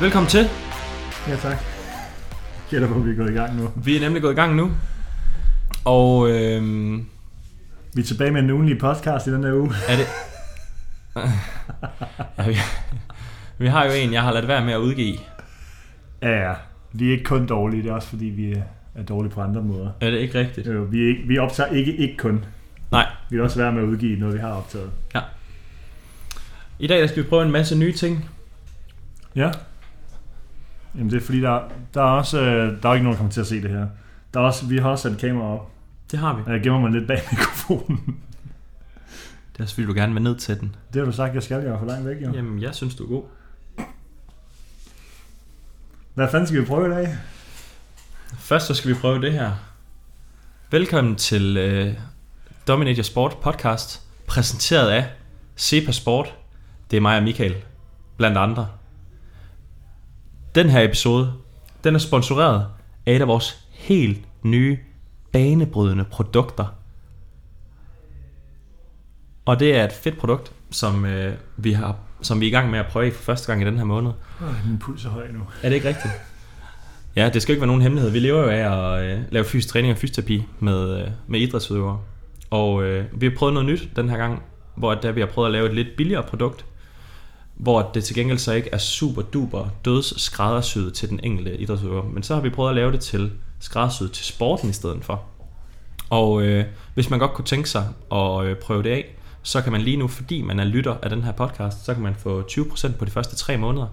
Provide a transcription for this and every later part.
Velkommen til. Ja, tak. Gætter på, at vi er gået i gang nu. Vi er nemlig gået i gang nu. Og øhm, Vi er tilbage med en ugenlig podcast i den her uge. er det... ja, vi, vi har jo en, jeg har ladt være med at udgive. Ja, ja. Vi er ikke kun dårlige, det er også fordi, vi er dårlige på andre måder. Er det ikke rigtigt? Jo, vi, er ikke, vi optager ikke ikke kun. Nej. Vi vil også være med at udgive noget, vi har optaget. I dag der skal vi prøve en masse nye ting. Ja. Jamen det er fordi, der, der er også... øh, Der er ikke nogen, der kommer til at se det her. Der er også, vi har også sat kamera op, Det har vi. og jeg gemmer mig lidt bag mikrofonen. Det er også fordi, du gerne vil ned til den. Det har du sagt, jeg skal. Jeg var for langt væk, jo. Jamen, jeg synes, du er god. Hvad fanden skal vi prøve i dag? Først så skal vi prøve det her. Velkommen til øh, Dominate Your Sport podcast, præsenteret af Cepa Sport. Det er mig og Michael, blandt andre. Den her episode, den er sponsoreret af et af vores helt nye banebrydende produkter. Og det er et fedt produkt, som, øh, vi har, som vi er i gang med at prøve for første gang i den her måned. Øh, Min puls er høj nu. Er det ikke rigtigt? Ja, det skal ikke være nogen hemmelighed. Vi lever jo af at øh, lave fysisk træning og fysioterapi med, øh, med idrætsudøvere. Og øh, vi har prøvet noget nyt den her gang, hvor at der vi har prøvet at lave et lidt billigere produkt, hvor det til gengæld så ikke er super duper døds skræddersyet til den enkelte idrætsudøver. Men så har vi prøvet at lave det til skræddersyet til sporten i stedet for. Og øh, hvis man godt kunne tænke sig at øh, prøve det af, så kan man lige nu, fordi man er lytter af den her podcast, så kan man få 20% på de første tre måneder.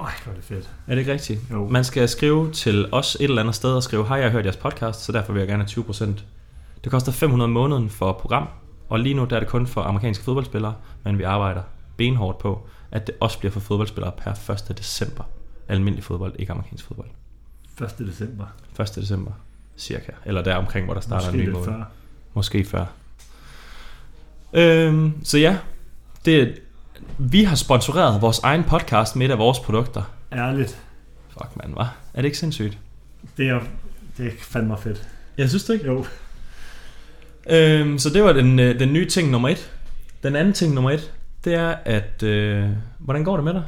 Ej, hvor er det fedt. Er det ikke rigtigt? Jo. Man skal skrive til os et eller andet sted og skrive, hej, jeg har hørt jeres podcast, så derfor vil jeg gerne have 20%. Det koster 500 om måneden for program, og lige nu der er det kun for amerikanske fodboldspillere, men vi arbejder benhårdt på, at det også bliver for fodboldspillere per 1. december. Almindelig fodbold, ikke amerikansk fodbold. 1. december. 1. december, cirka. Eller der omkring, hvor der starter Måske en ny lidt måned. før. Måske før. Øhm, så ja, det, vi har sponsoreret vores egen podcast med et af vores produkter. Ærligt. Fuck mand, hva? Er det ikke sindssygt? Det er, det er fandme fedt. Jeg synes det ikke. Jo, Øhm, så det var den, øh, den nye ting nummer et. Den anden ting nummer et, det er, at... Øh, hvordan går det med dig?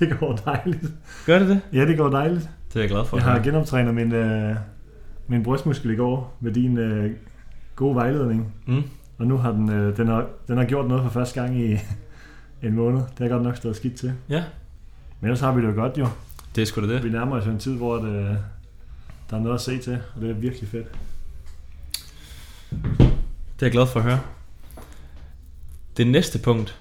det går dejligt. Gør det det? Ja, det går dejligt. Det er jeg glad for. Jeg har genoptrænet min, øh, min brystmuskel i går med din øh, gode vejledning. mm. Og nu har den, øh, den, har, den har gjort noget for første gang i en måned. Det har godt nok stået skidt til. Ja, Men ellers har vi det jo godt jo. det er sgu da Vi det. nærmer os jo en tid, hvor det, øh, der er noget at se til. Og det er virkelig fedt. Det er jeg glad for at høre. Det næste punkt,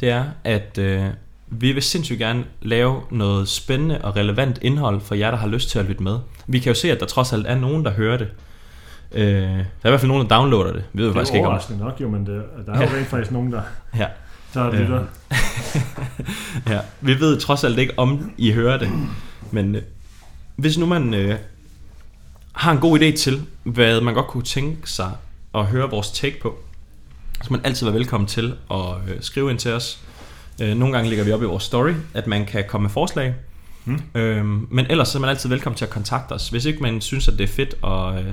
det er, at øh, vi vil sindssygt gerne lave noget spændende og relevant indhold for jer, der har lyst til at lytte med. Vi kan jo se, at der trods alt er nogen, der hører det. Øh, der er i hvert fald nogen, der downloader det. Vi ved Det faktisk er ikke om overraskende nok jo, men det, der er jo Ja. rent faktisk nogen, der, Ja. der Øh, lytter. Ja, vi ved trods alt ikke, om I hører det. Men øh, hvis nu man øh, har en god idé til, hvad man godt kunne tænke sig at høre vores take på, så man altid være velkommen til at øh, skrive ind til os. Øh, nogle gange lægger vi op i vores story, at man kan komme med forslag. Mm. Øhm, men ellers så er man altid velkommen til at kontakte os. Hvis ikke man synes, at det er fedt at, øh,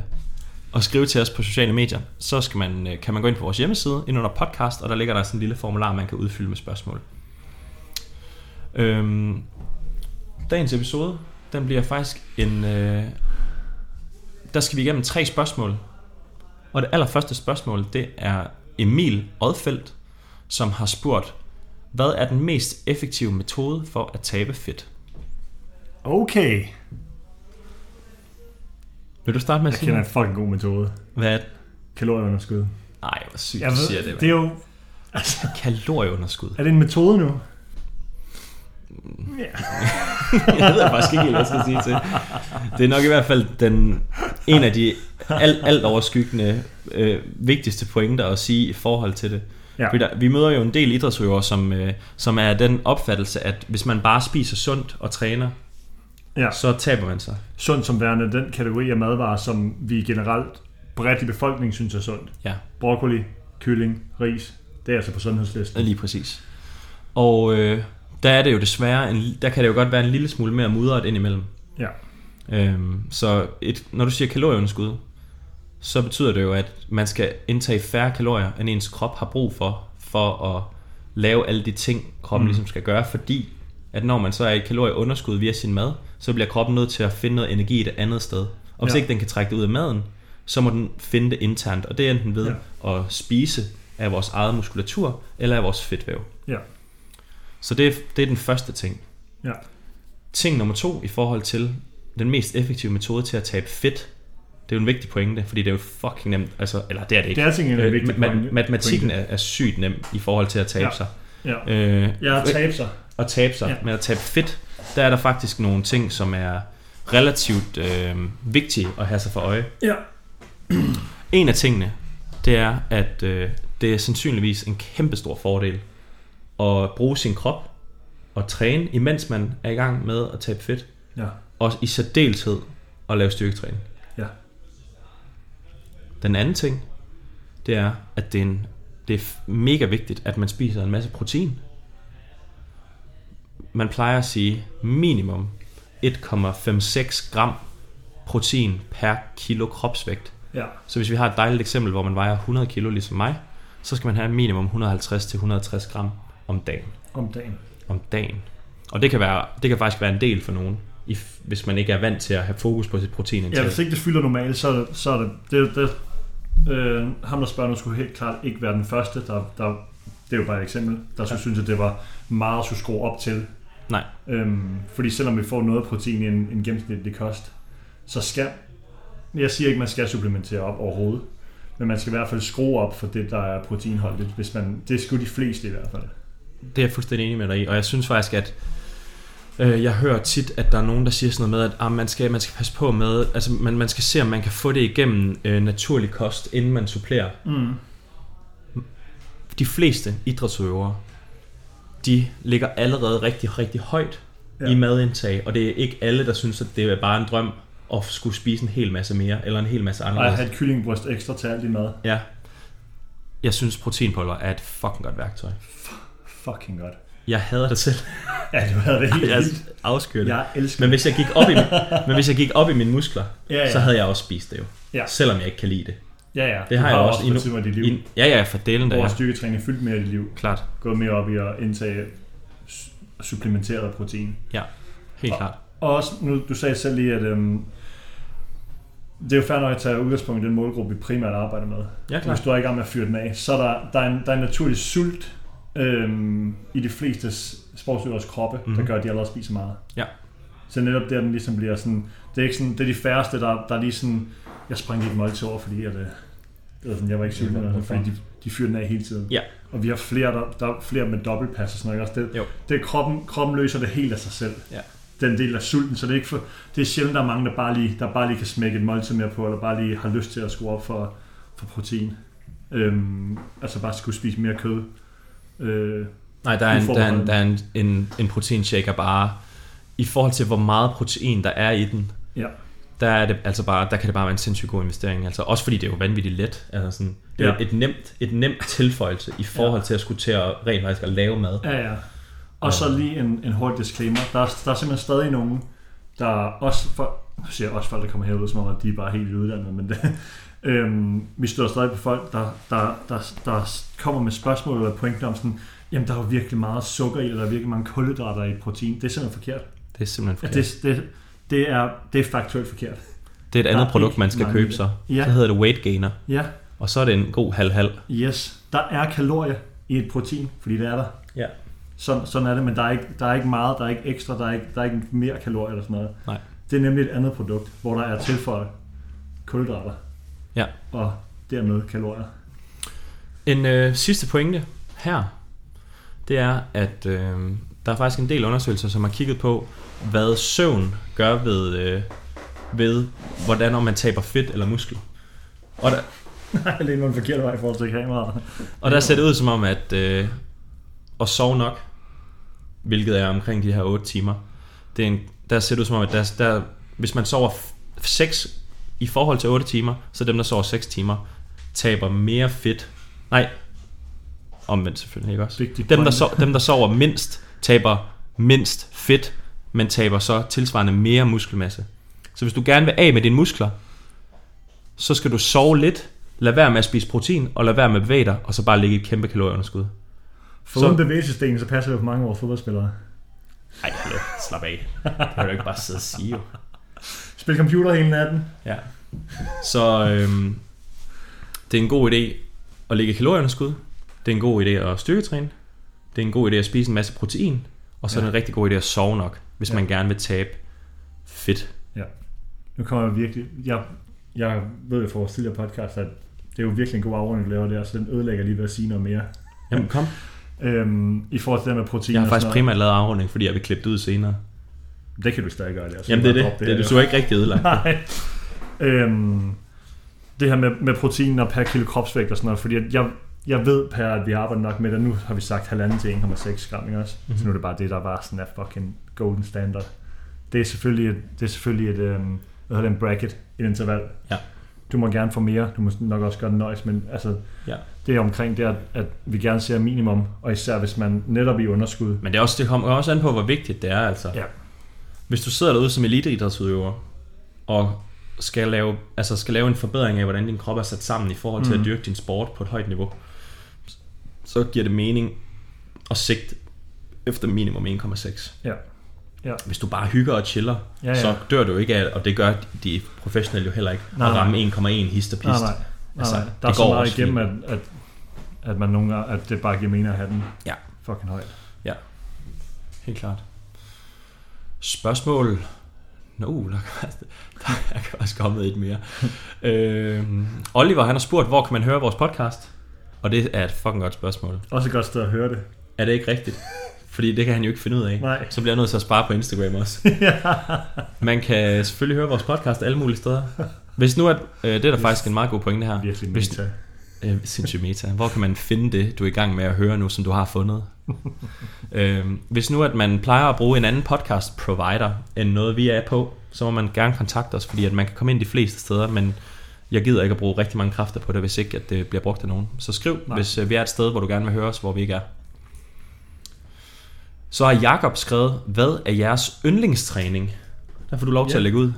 at skrive til os på sociale medier, så skal man, øh, kan man gå ind på vores hjemmeside, ind under podcast, og der ligger der sådan en lille formular, man kan udfylde med spørgsmål. Øhm, dagens episode, den bliver faktisk en... Øh, der skal vi igennem tre spørgsmål. Og det allerførste spørgsmål, det er Emil Odfeldt, som har spurgt, hvad er den mest effektive metode for at tabe fedt? Okay. Vil du starte med at Jeg sige, kender en fucking god metode. hvad er det? Kalorieunderskud. Ej, hvor sygt, Jeg du siger ved, det. det det er jo... Altså, Kalorieunderskud. er det en metode nu? Jeg ved faktisk ikke helt, hvad jeg skal sige til. Det er nok i hvert fald den, en af de alt, alt overskyggende øh, vigtigste pointer at sige i forhold til det. Ja. Fordi der, vi møder jo en del idrætsøvere, som, øh, som er af den opfattelse, at hvis man bare spiser sundt og træner, Ja. så taber man sig. sundt som værende den kategori af madvarer, som vi generelt bredt i befolkningen synes er sundt. Ja, Broccoli, kylling, ris, det er altså på sundhedslisten. lige præcis. Og øh, der er det jo desværre, en, der kan det jo godt være en lille smule mere mudret indimellem. Ja. Øhm, så et, når du siger kalorieunderskud, så betyder det jo, at man skal indtage færre kalorier, end ens krop har brug for, for at lave alle de ting, kroppen mm. ligesom skal gøre, fordi at når man så er i kalorieunderskud via sin mad, så bliver kroppen nødt til at finde noget energi et andet sted. Og hvis Ja. ja. ikke den kan trække det ud af maden, så må den finde det internt, og det er enten ved ja. at spise af vores eget muskulatur, eller af vores fedtvæv. Ja. Så det er, det er den første ting. Ja. Ting nummer to i forhold til den mest effektive metode til at tabe fedt, det er jo en vigtig pointe, fordi det er jo fucking nemt, altså, eller det er det ikke. Det er ting, en Øh, vigtig ma- ma- pointe- matematikken pointe. er, er sygt nem i forhold til at tabe Ja. sig. Ja. Øh, Ja, at tabe sig. at tabe sig. Ja. Ja. Men at tabe fedt, der er der faktisk nogle ting, som er relativt øh, vigtige at have sig for øje. Ja. En af tingene, det er, at øh, det er sandsynligvis en kæmpestor fordel at bruge sin krop og træne, imens man er i gang med at tabe fedt. Ja. Og i særdeleshed at lave styrketræning. Ja. Den anden ting, det er, at det er, en, det er f- mega vigtigt, at man spiser en masse protein. Man plejer at sige minimum 1,56 gram protein per kilo kropsvægt. Ja. Så hvis vi har et dejligt eksempel, hvor man vejer 100 kilo ligesom mig, så skal man have minimum 150-160 gram om dagen. Om dagen. Om dagen. Og det kan, være, det kan faktisk være en del for nogen, if- hvis man ikke er vant til at have fokus på sit Ja, proteinindtag. hvis ikke det fylder normalt, så er det, så er det, det, det øh, ham der spørger nu skulle helt klart ikke være den første, der, der det er jo bare et eksempel, der skulle ja. synes, at det var meget at skulle skrue op til. Nej. Øhm, fordi selvom vi får noget protein i en, en gennemsnitlig kost, så skal, jeg siger ikke, man skal supplementere op overhovedet, men man skal i hvert fald skrue op for det, der er proteinholdigt, hvis man, det skulle de fleste i hvert fald. Det er jeg fuldstændig enig med dig i, og jeg synes faktisk, at øh, jeg hører tit, at der er nogen, der siger sådan noget med, at ah, man, skal, man skal passe på med, altså man, man skal se, om man kan få det igennem øh, naturlig kost, inden man supplerer. Mm. De fleste idrætsøvere, de ligger allerede rigtig, rigtig højt Ja. ja. i madindtag, og det er ikke alle, der synes, at det er bare en drøm at skulle spise en hel masse mere, eller en hel masse Og jeg anderledes. har et kyllingbryst ekstra til alt din mad. Ja. Jeg synes, proteinpulver er et fucking godt værktøj. Fucking godt. Jeg hader det selv. Ja, du havde det helt Jeg vildt. afskyr det. Jeg elsker Men hvis jeg gik op i, men hvis jeg gik op i mine muskler, Ja, ja. så havde jeg også spist det jo. Ja. Selvom jeg ikke kan lide det. Ja, ja. Det har jeg også endnu. endnu- Timer i dit liv. I, ja, ja, for delen der. Hvor Ja. styrketræning fyldt mere i dit liv. Klart. Gået mere op i at indtage su- supplementeret protein. Ja, helt klart. Og også, nu, du sagde selv lige, at øhm, det er jo fair nok at tage udgangspunkt i den målgruppe, vi primært arbejder med. Ja, Hvis klart. du er i gang med at fyre den af, så er der, der, er en, der er en naturlig sult øhm, i de fleste s- sportsudøveres kroppe, mm-hmm. der Mhm. gør, at de allerede spiser meget. Ja. Så netop der, den ligesom bliver sådan, det er, ikke sådan, det er de færreste, der, der er lige sådan, jeg sprang lige et måltid over, fordi øh, jeg, det, det var sådan, jeg var ikke sulten, Ja, eller noget, hvorfor? fordi de, de fyrer den af hele tiden. Ja. Og vi har flere, der, der er flere med dobbeltpas og sådan noget. ikke Også Jo. det, det er kroppen, kroppen løser det helt af sig selv. Ja. Den del af sulten, så det er, ikke for, det er sjældent, der er mange, der bare lige, der bare lige kan smække et måltid mere på, eller bare lige har lyst til at skrue op for, for protein. Øhm, altså bare skulle spise mere kød. Øh, Nej, der er en, der er Uforbeholden. en, der er en, en, en proteinshake er bare... I forhold til, hvor meget protein der er i den, ja. der, er det, altså bare, der kan det bare være en sindssygt god investering. Altså, også fordi det er jo vanvittigt let. Altså sådan, det er Ja. ja. et, nemt, et nemt tilføjelse i forhold til at skulle til at rent faktisk at lave mad. Ja, ja. Og så lige en, en hurtig disclaimer. Der er, der er simpelthen stadig nogen, der også for, nu siger jeg også folk, der kommer herud, som om at de er bare helt uddannede, men det, øhm, vi støder stadig på folk, der, der, der, der kommer med spørgsmål eller pointer om sådan, jamen der er jo virkelig meget sukker i, eller der er virkelig mange kulhydrater i protein. Det er simpelthen forkert. Det er simpelthen Okay. forkert. Det, det, det, er, det er faktuelt forkert. Det er et der andet er produkt, ikke man skal mange i købe det. så. Ja. Så hedder det weight gainer. Ja, Og så er det en god halv-halv. yes. Der er kalorier i et protein, fordi det er der. Ja. Sådan, sådan er det, men der er, ikke, der er ikke meget, der er ikke ekstra, der er ikke, der er ikke mere kalorier eller sådan noget. Nej. Det er nemlig et andet produkt, hvor der er tilføjet kulhydrater Ja. og dermed kalorier. En øh, sidste pointe her, det er, at øh, der er faktisk en del undersøgelser, som har kigget på, hvad søvn gør ved, øh, ved hvordan om man taber fedt eller muskler. Og der, Nej, det er en forkert vej i forhold til kameraet. og der ser det ud som om, at øh, at sove nok, hvilket er omkring de her 8 timer, det er en, der ser det ud som om, at der, der, hvis man sover 6 i forhold til 8 timer, så dem, der sover 6 timer, taber mere fedt. Nej, omvendt selvfølgelig, ikke også? Vigtig Dem der, pointe. sover, dem, der sover mindst, taber mindst fedt, men taber så tilsvarende mere muskelmasse. Så hvis du gerne vil af med dine muskler, så skal du sove lidt, lad være med at spise protein, og lad være med at bevæge dig, og så bare ligge i et kæmpe kalorieunderskud. For så... uden bevægelsesdelen, så passer det jo for mange af vores fodboldspillere. Ej, hallo, slap af. Det kan du ikke bare sidde og sige, jo. Spil computer hele natten. Ja. Så øhm, det er en god idé at lægge kalorieunderskud. Det er en god idé at styrketræne. Det er en god idé at spise en masse protein. Og så ja. er det en rigtig god idé at sove nok, hvis ja. man gerne vil tabe fedt. Ja. Nu kommer jeg virkelig... Jeg, jeg ved jo fra vores tidligere podcast, at det er jo virkelig en god afrunding, du laver der, så den ødelægger lige ved at sige noget mere. Jamen, kom. øhm, I forhold til det med protein Jeg har og faktisk sådan noget. primært lavet afrunding, fordi jeg vil klippe det ud senere. Det kan du stadig gøre, der. så Jamen, det bare er det. drop det, er her. det du har ikke rigtig ødelagt. Nej. Øhm, det her med, med protein og per kilo kropsvægt og sådan noget, fordi at jeg, jeg ved per, at vi arbejder nok med det. Nu har vi sagt halvanden til 1,6 gram, ikke også? Mhm. Mm-hmm. Så nu er det bare det, der var sådan er fucking golden standard. Det er selvfølgelig et, det er selvfølgelig et, øhm, hvad hedder det, en bracket, et interval. Ja. Du må gerne få mere, du må nok også godt nøjes, men altså, Ja. det er omkring der, at vi gerne ser minimum, og især hvis man netop er i underskud. Men det, er også, det kommer også an på, hvor vigtigt det er. Altså. Ja. Hvis du sidder derude som eliteidrætsudøver, og skal lave, altså skal lave en forbedring af, hvordan din krop er sat sammen i forhold til mm. at dyrke din sport på et højt niveau, så giver det mening at sigte efter minimum 1,6. Ja. Ja. Hvis du bare hygger og chiller, ja, Ja, ja. ja. så dør du ikke af, og det gør de professionelle jo heller ikke, Nej, at nej. ramme 1,1 hist og pist. Nej, nej. Altså, Altså, nej, det der er så går meget også igennem, at, at, at, man nogle gange, at det bare giver mening at have den Ja. fucking højt. Ja, helt klart. Spørgsmål? Nå, no, der, der er også kommet et mere. Øh, Oliver, han har spurgt, hvor kan man høre vores podcast? Og det er et fucking godt spørgsmål. Også et godt sted at høre det. Er det ikke rigtigt? Fordi det kan han jo ikke finde ud af. Nej. Så bliver jeg nødt til at spare på Instagram også. Man kan selvfølgelig høre vores podcast alle mulige steder. Hvis nu at, øh, det er der faktisk en meget god pointe her. Virkelig Hvis- meta. Øh, sindssygt meta. Hvor kan man finde det, du er i gang med at høre nu, som du har fundet? øh, hvis nu, at man plejer at bruge en anden podcast provider, end noget vi er på, så må man gerne kontakte os, fordi at man kan komme ind de fleste steder, men jeg gider ikke at bruge rigtig mange kræfter på det, hvis ikke at det bliver brugt af nogen. Så skriv, Nej. Nej. hvis øh, vi er et sted, hvor du gerne vil høre os, hvor vi ikke er. Så har Jakob skrevet, hvad er jeres yndlingstræning? Der får du lov til Ja. at lægge ud.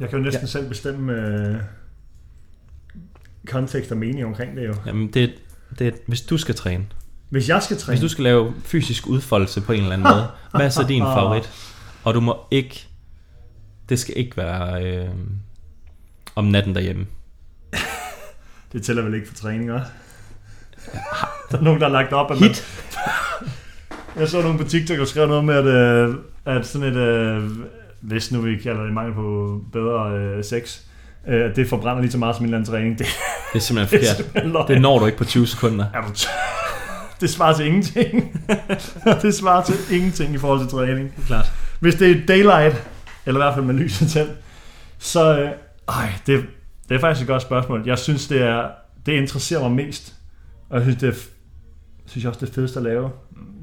Jeg kan jo næsten ja. selv bestemme øh, kontekst og mening omkring det jo. Jamen, det er, det er, hvis du skal træne, Hvis jeg skal træne, Hvis du skal lave fysisk udfoldelse på en eller anden måde, hvad er så din favorit? Og du må ikke... Det skal ikke være øh, om natten derhjemme. det tæller vel ikke for træning også? Der er nogen, der har lagt op. at man- Hit! Jeg så nogen på TikTok, der skrev noget med, at, øh, at sådan et, øh, hvis nu vi kalder det mangel på bedre øh, sex, øh, at det forbrænder lige så meget som en eller anden træning. Det Det er simpelthen er forkert. simpelthen løgn. Det når du ikke på 20 sekunder. Er du t- det svarer til ingenting. det svarer til ingenting i forhold til træning. Klart. Hvis det er daylight, eller i hvert fald med lyset tændt, så øh, ej, det, det er faktisk et godt spørgsmål. Jeg synes, det er det interesserer mig mest, og jeg synes, det er, f- synes jeg også det er fedeste at lave.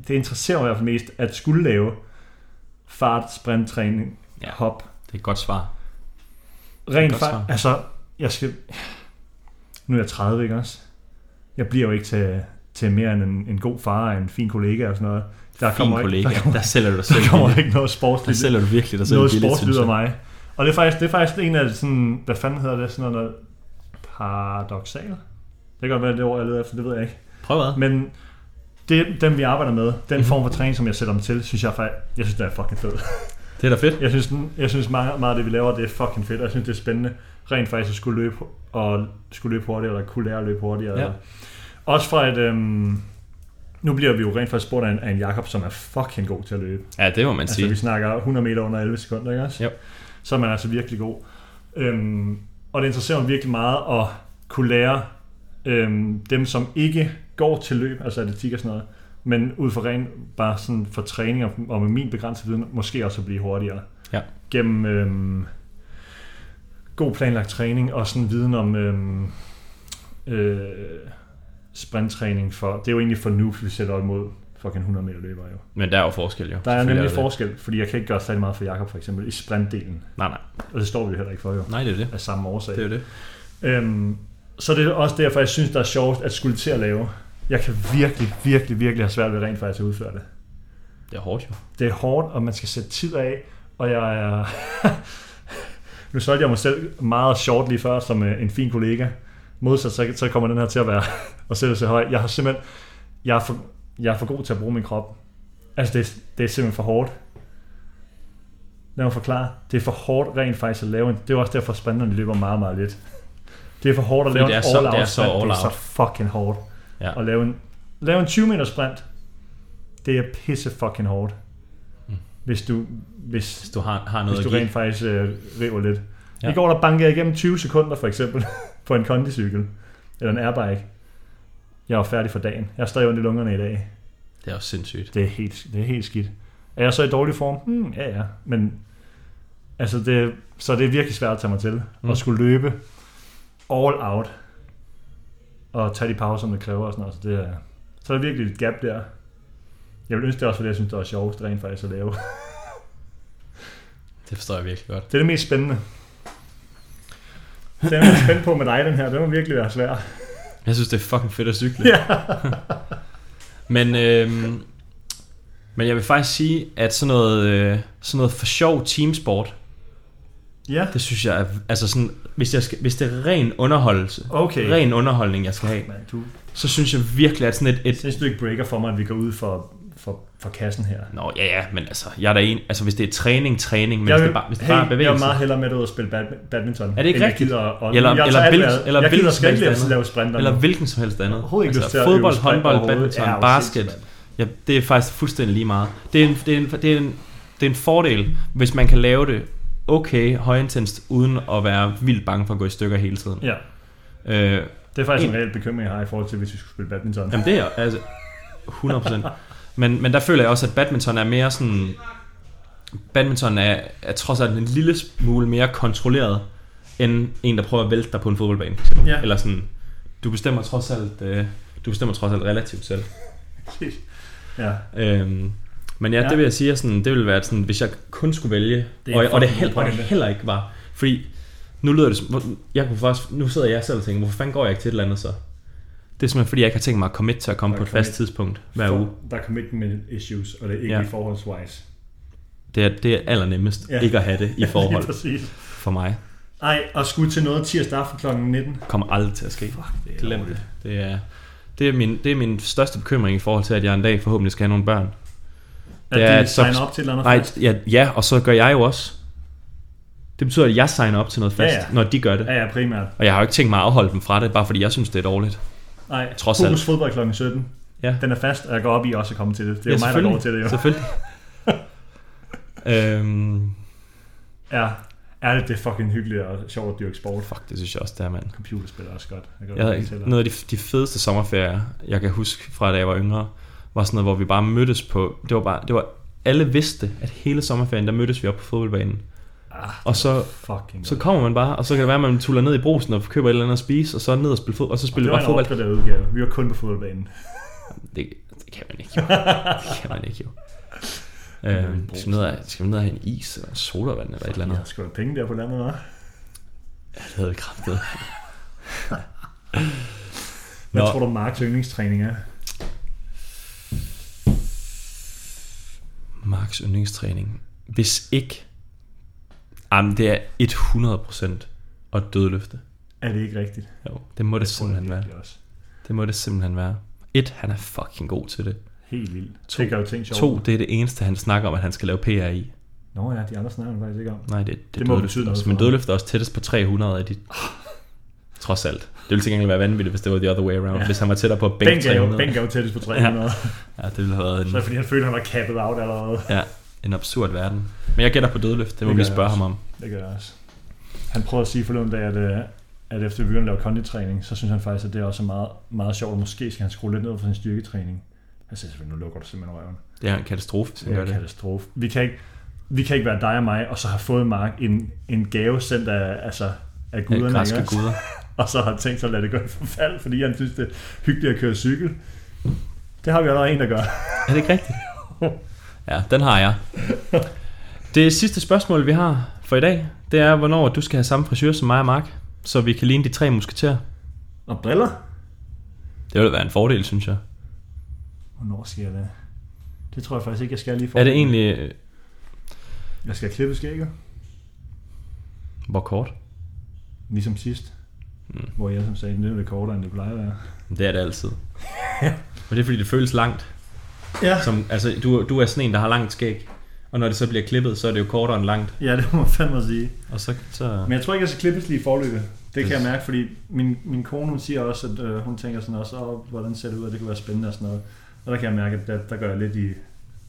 Det interesserer mig i hvert fald mest, at skulle lave fart, sprint, træning, Ja. ja. hop. Det er et godt svar. Rent Godt svar. fart, altså, jeg skal... Nu er jeg 30, ikke også? Jeg bliver jo ikke til, til mere end en, en god far og en fin kollega og sådan noget. Der Fin kommer ikke- kollega. Der kommer, Der sælger du dig selv der kommer billigt. ikke noget Der sportsligt sælger du virkelig dig selv noget billigt, sportsligt synes af jeg. mig. Og det er faktisk, det er faktisk en af sådan, hvad fanden hedder det, sådan noget paradoxal? Det kan godt være det ord, jeg leder efter, det ved jeg ikke. Prøv hvad? Men det, dem vi arbejder med, Mhm. den form for træning, som jeg sætter dem til, synes jeg faktisk, jeg synes, det er fucking fedt. Det er da fedt. Jeg synes, den- jeg synes meget, meget af det, vi laver, det er fucking fedt, og jeg synes, det er spændende rent faktisk at skulle løbe, og skulle løbe hurtigere, eller kunne lære at løbe hurtigere. Ja. Ja. Også fra et... Øhm, nu bliver vi jo rent faktisk spurgt af en, af en Jakob, som er fucking god til at løbe. Ja, det må man Altså, vi sige. snakker 100 meter under 11 sekunder, ikke også? Jo. Så er man altså virkelig god. Øhm, og det interesserer mig virkelig meget at kunne lære øhm, dem, som ikke går til løb, altså atletik og sådan noget, men ud fra ren, bare sådan for træning og, og med min begrænsede viden, måske også at blive hurtigere. Ja. Gennem øhm, god planlagt træning og sådan viden om øhm, øh, sprinttræning for, det er jo egentlig for noobs, vi sætter op mod fucking 100 meter løber jo. Men der er jo forskel jo. Der er Selvfølgelig nemlig det. forskel, fordi jeg kan ikke gøre særlig meget for Jakob for eksempel i sprintdelen. Nej, nej. Og det står vi jo heller ikke for jo, Nej, det er det. af samme årsag. Det er jo det. Øhm, så det er også derfor, jeg synes, der er sjovt at skulle til at lave. Jeg kan virkelig, virkelig, virkelig have svært ved rent faktisk at udføre det. Det er hårdt jo. Det er hårdt, og man skal sætte tid af, og jeg er... nu solgte jeg mig selv meget short lige før som øh, en fin kollega, Modsat, så, så kommer den her til at være og sætte sig høj. Jeg har simpelthen, jeg er, for, jeg er for god til at bruge min krop. Altså, det, er- det er simpelthen for hårdt. Lad mig forklare. Det er for hårdt rent faktisk at lave en... Det er også derfor, spanderne løber meget, meget lidt. Det er for hårdt at Fordi lave det en er så- all-out det er så sprint. Det er så all-out. fucking hårdt. Ja. At lave en, lave en 20 meter sprint, det er pisse fucking hårdt. Mm. Hvis du, hvis, Hvis du har, har noget hvis du at give. rent faktisk øh, river lidt. Ja. Ja. I går der bankede jeg igennem 20 sekunder for eksempel på en kondicykel. Eller en airbike. Jeg var færdig for dagen. Jeg er stadig ondt i lungerne i dag. Det er også sindssygt. Det er helt, det er helt skidt. Er jeg så i dårlig form? Hmm, ja, ja. Men altså det, så det er virkelig svært at tage mig til. Mm. Mm. At skulle løbe all out. Og tage de pauser, som det kræver og sådan noget. Så, det er, så er der virkelig et gap der. Jeg vil ønske det også, fordi jeg synes, det er sjovest rent faktisk at lave. Det forstår jeg virkelig godt. Det er det mest spændende. Den er jeg spændt på med dig, den her. Den må virkelig være svær. Jeg synes, det er fucking fedt at cykle. Ja. Men, øhm, men jeg vil faktisk sige, at sådan noget, øh, sådan noget for sjov teamsport, Ja. det synes jeg er, altså sådan, hvis, jeg skal, hvis det er ren underholdelse, Okay. ren underholdning, jeg skal have, Man, du så synes jeg virkelig, at sådan et, et synes, du ikke breaker for mig, at vi går ud for, for, for kassen her. Nå, ja, ja, men altså, jeg er da en, altså hvis det er træning, træning, men jeg hvis det er bare, hvis det bare er jeg vil bevægelse, meget hellere med dig ud og spille bad, badminton. Er det ikke end jeg rigtigt? Gider, og, Eller- jeg tager eller alt, hvil- hvad- eller jeg gider hvilken sgu ikke som lade helst at lave sprinter. eller nu. hvilken som helst andet. Overhovedet ikke lyst til altså, at øve fodbold, sprint håndbold, overhovedet. badminton, Ja, ja, jo, basket, sindssygt, ja, det er faktisk fuldstændig lige meget. Det er en, det er en, det er en, det er en fordel, hvis man kan lave det okay, højintenst, uden at være vildt bange for at gå i stykker hele tiden. Ja, Øh, det er faktisk en reel bekymring, jeg har i forhold til, hvis vi skulle spille badminton. Jamen det er altså 100%. men, men der føler jeg også, at badminton er mere sådan... Badminton er, er trods alt en lille smule mere kontrolleret, end en, der prøver at vælte dig på en fodboldbane. Ja. Eller sådan, du bestemmer trods alt, øh, du bestemmer trods alt relativt selv. ja. Øhm, men ja, Ja. ja, det vil jeg sige, er sådan, det ville være sådan, hvis jeg kun skulle vælge, Det det er og, en og, det fucking heller, god og det pointe. heller ikke var, fordi nu lyder det som, hvor- jeg kunne faktisk, nu sidder jeg selv og tænker, hvorfor fanden går jeg ikke til et eller andet så? Det er simpelthen fordi, jeg ikke har tænkt mig at komme til at komme Og på et commit. fast tidspunkt hver For- uge. Der er commitment issues, og det er ikke Ja. i forholdswise. Det er, det er allernemmest Ja. ja. ikke at have det i forhold Lige præcis. for mig. Ej, og skulle til noget tirsdag aften kl. 19. Kommer aldrig til at ske. Fuck, det er Glem lortet. det. Det er, det, er min, det er min største bekymring i forhold til, at jeg en dag forhåbentlig skal have nogle børn. At Det er de et så- signer op til et eller andet Nej, fast. ja, ja, og så gør jeg jo også. Det betyder, at jeg signer op til noget Ja, fast, ja. når de gør det. Ja, ja, primært. Og jeg har jo ikke tænkt mig at afholde dem fra det, bare fordi jeg synes, det er dårligt. Nej, Trods fokus alt. fodbold kl. 17. Ja. Den er fast, og jeg går op i også at komme til det. Det er ja, jo mig, selvfølgelig. der går til det. Jo. Selvfølgelig. øhm, Ja, ærligt, det er fucking hyggeligt og sjovt at dyrke sport. fuck, det synes jeg også, det er, mand. Computerspil er også godt. Jeg kan Jeg godt havde, lide til det. noget af de, de fedeste sommerferier, jeg kan huske fra da jeg var yngre, var sådan noget, hvor vi bare mødtes på... Det var bare... Det var, alle vidste, at hele sommerferien, der mødtes vi op på fodboldbanen. Ah, Og så, fucking så godt. kommer man bare, og så kan det være, at man tuller ned i brusen og køber et eller andet at spise, og så ned og spille fodbold, og så det spiller vi var bare en fodbold. opgraderet udgave. Vi var kun på fodboldbanen. Det, det kan man ikke jo. Det kan man ikke jo. Øhm, skal, man ned og, skal man ned og have en is eller en sodavand eller et eller Jeg andet? har sgu da penge der på landet, hva'? Ja, det havde vi kraftet. Hvad Nå. tror du, Marks yndlingstræning er? Marks yndlingstræning. Hvis ikke... Jamen, det er 100% at dødløfte. Er det ikke rigtigt? Tror Jo, det må det jeg simpelthen være. virkelig også. Det må det simpelthen være. Et, han er fucking god til det. Helt vildt. To. Det gør jo ting sjovt. To, det er det eneste, han snakker om, at han skal lave PR i. Nå ja, de andre snakker man faktisk ikke om. Nej, det, det, Det det må må dødløfte betyde noget også. for Men ham. dødløfte er også tættest på 300 af de... Trods alt. Det ville til gengæld være vanvittigt, hvis det var the other way around. Ja. Ja. Hvis han var tættere på at bænke Bænk er jo, 300. Bænk er jo tættest på 300. Ja, det ville have været Så er det en, fordi han føler, han var capped out allerede. ja, en absurd verden. Men jeg gætter på dødløft. Det må Det det vi gør jeg spørge også. ham om. Det gør jeg også. Han prøvede at sige forleden dag, at, øh, at efter vi begyndte at lave konditræning, så synes han faktisk, at det er også er meget, meget sjovt. Måske skal han skrue lidt ned for sin styrketræning. Han siger selvfølgelig, nu lukker du simpelthen røven. Det er en katastrofe, hvis han Det er gør en det. katastrofe. Vi kan, ikke, vi kan ikke være dig og mig, og så have fået Mark en, en gave sendt af, altså, af Ja, guderne, græske ikke også? guder. og så har han tænkt sig at lade det gå i forfald, fordi han synes, det er hyggeligt at køre cykel. Det har vi allerede en, der gør. Er det ikke rigtigt? Ja, den har jeg. Det sidste spørgsmål, vi har for i dag, det er, hvornår du skal have samme frisyr som mig og Mark, så vi kan ligne de tre musketerer. Og briller? Det ville være en fordel, synes jeg. Hvornår skal jeg det? Det tror jeg faktisk ikke, jeg skal lige for. Er det egentlig... øh, Jeg skal klippe skægget, Hvor kort? ligesom sidst. Mm. Hvor jeg som sagde, det er jo lidt kortere, end det plejer at være. Det er det altid. Men det er fordi, det føles langt. Ja. Som, altså, du, du er sådan en, der har langt skæg. Og når det så bliver klippet, så er det jo kortere end langt. Ja, det må man fandme sige. Og så... så Men jeg tror ikke, jeg skal klippes lige i forløbet. Det kan Yes. jeg mærke, fordi min, min kone hun siger også, at øh, hun tænker sådan også, Åh, hvordan ser det ud, og det kunne være spændende og sådan noget. Og der kan jeg mærke, at der, der gør jeg lidt i,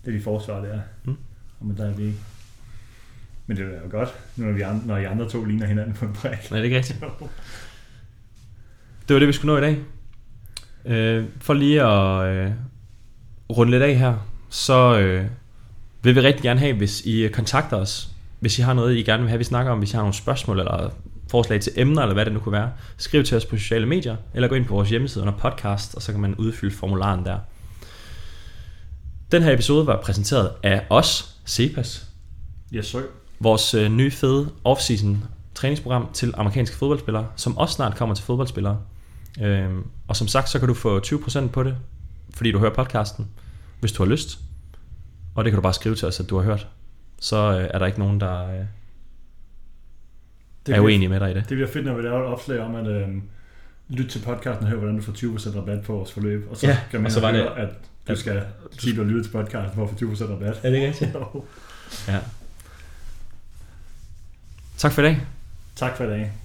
lidt i forsvar der. Mm. Og men der er vi ikke. Men det er jo godt, nu når, vi andre, når I andre to ligner hinanden på en brik. Nej, det er ikke rigtigt. Det var det, vi skulle nå i dag. Øh, for lige at øh, runde lidt af her, så øh, vil vi rigtig gerne have, hvis I øh, kontakter os. Hvis I har noget, I gerne vil have, vi snakker om. Hvis I har nogle spørgsmål eller forslag til emner, eller hvad det nu kunne være. Skriv til os på sociale medier, eller gå ind på vores hjemmeside under podcast, og så kan man udfylde formularen der. Den her episode var præsenteret af os, Cepas, Yes, sir. vores øh, nye fede off-season træningsprogram til amerikanske fodboldspillere, som også snart kommer til fodboldspillere. Øhm, og som sagt, så kan du få 20% på det, fordi du hører podcasten, hvis du har lyst. Og det kan du bare skrive til os, at du har hørt. Så øh, er der ikke nogen, der øh, Det er bliver- uenige med dig i det. Det bliver fedt, når vi laver et opslag om, at øh, lyt til podcasten og hør, hvordan du får 20% rabat på vores forløb. Og så Ja, kan man og så var høre, at du at- skal sige, at du lytter til podcasten for at få 20% rabat. Er det ikke rigtigt? Jo. Ja. Tak for i dag. tak for i dag.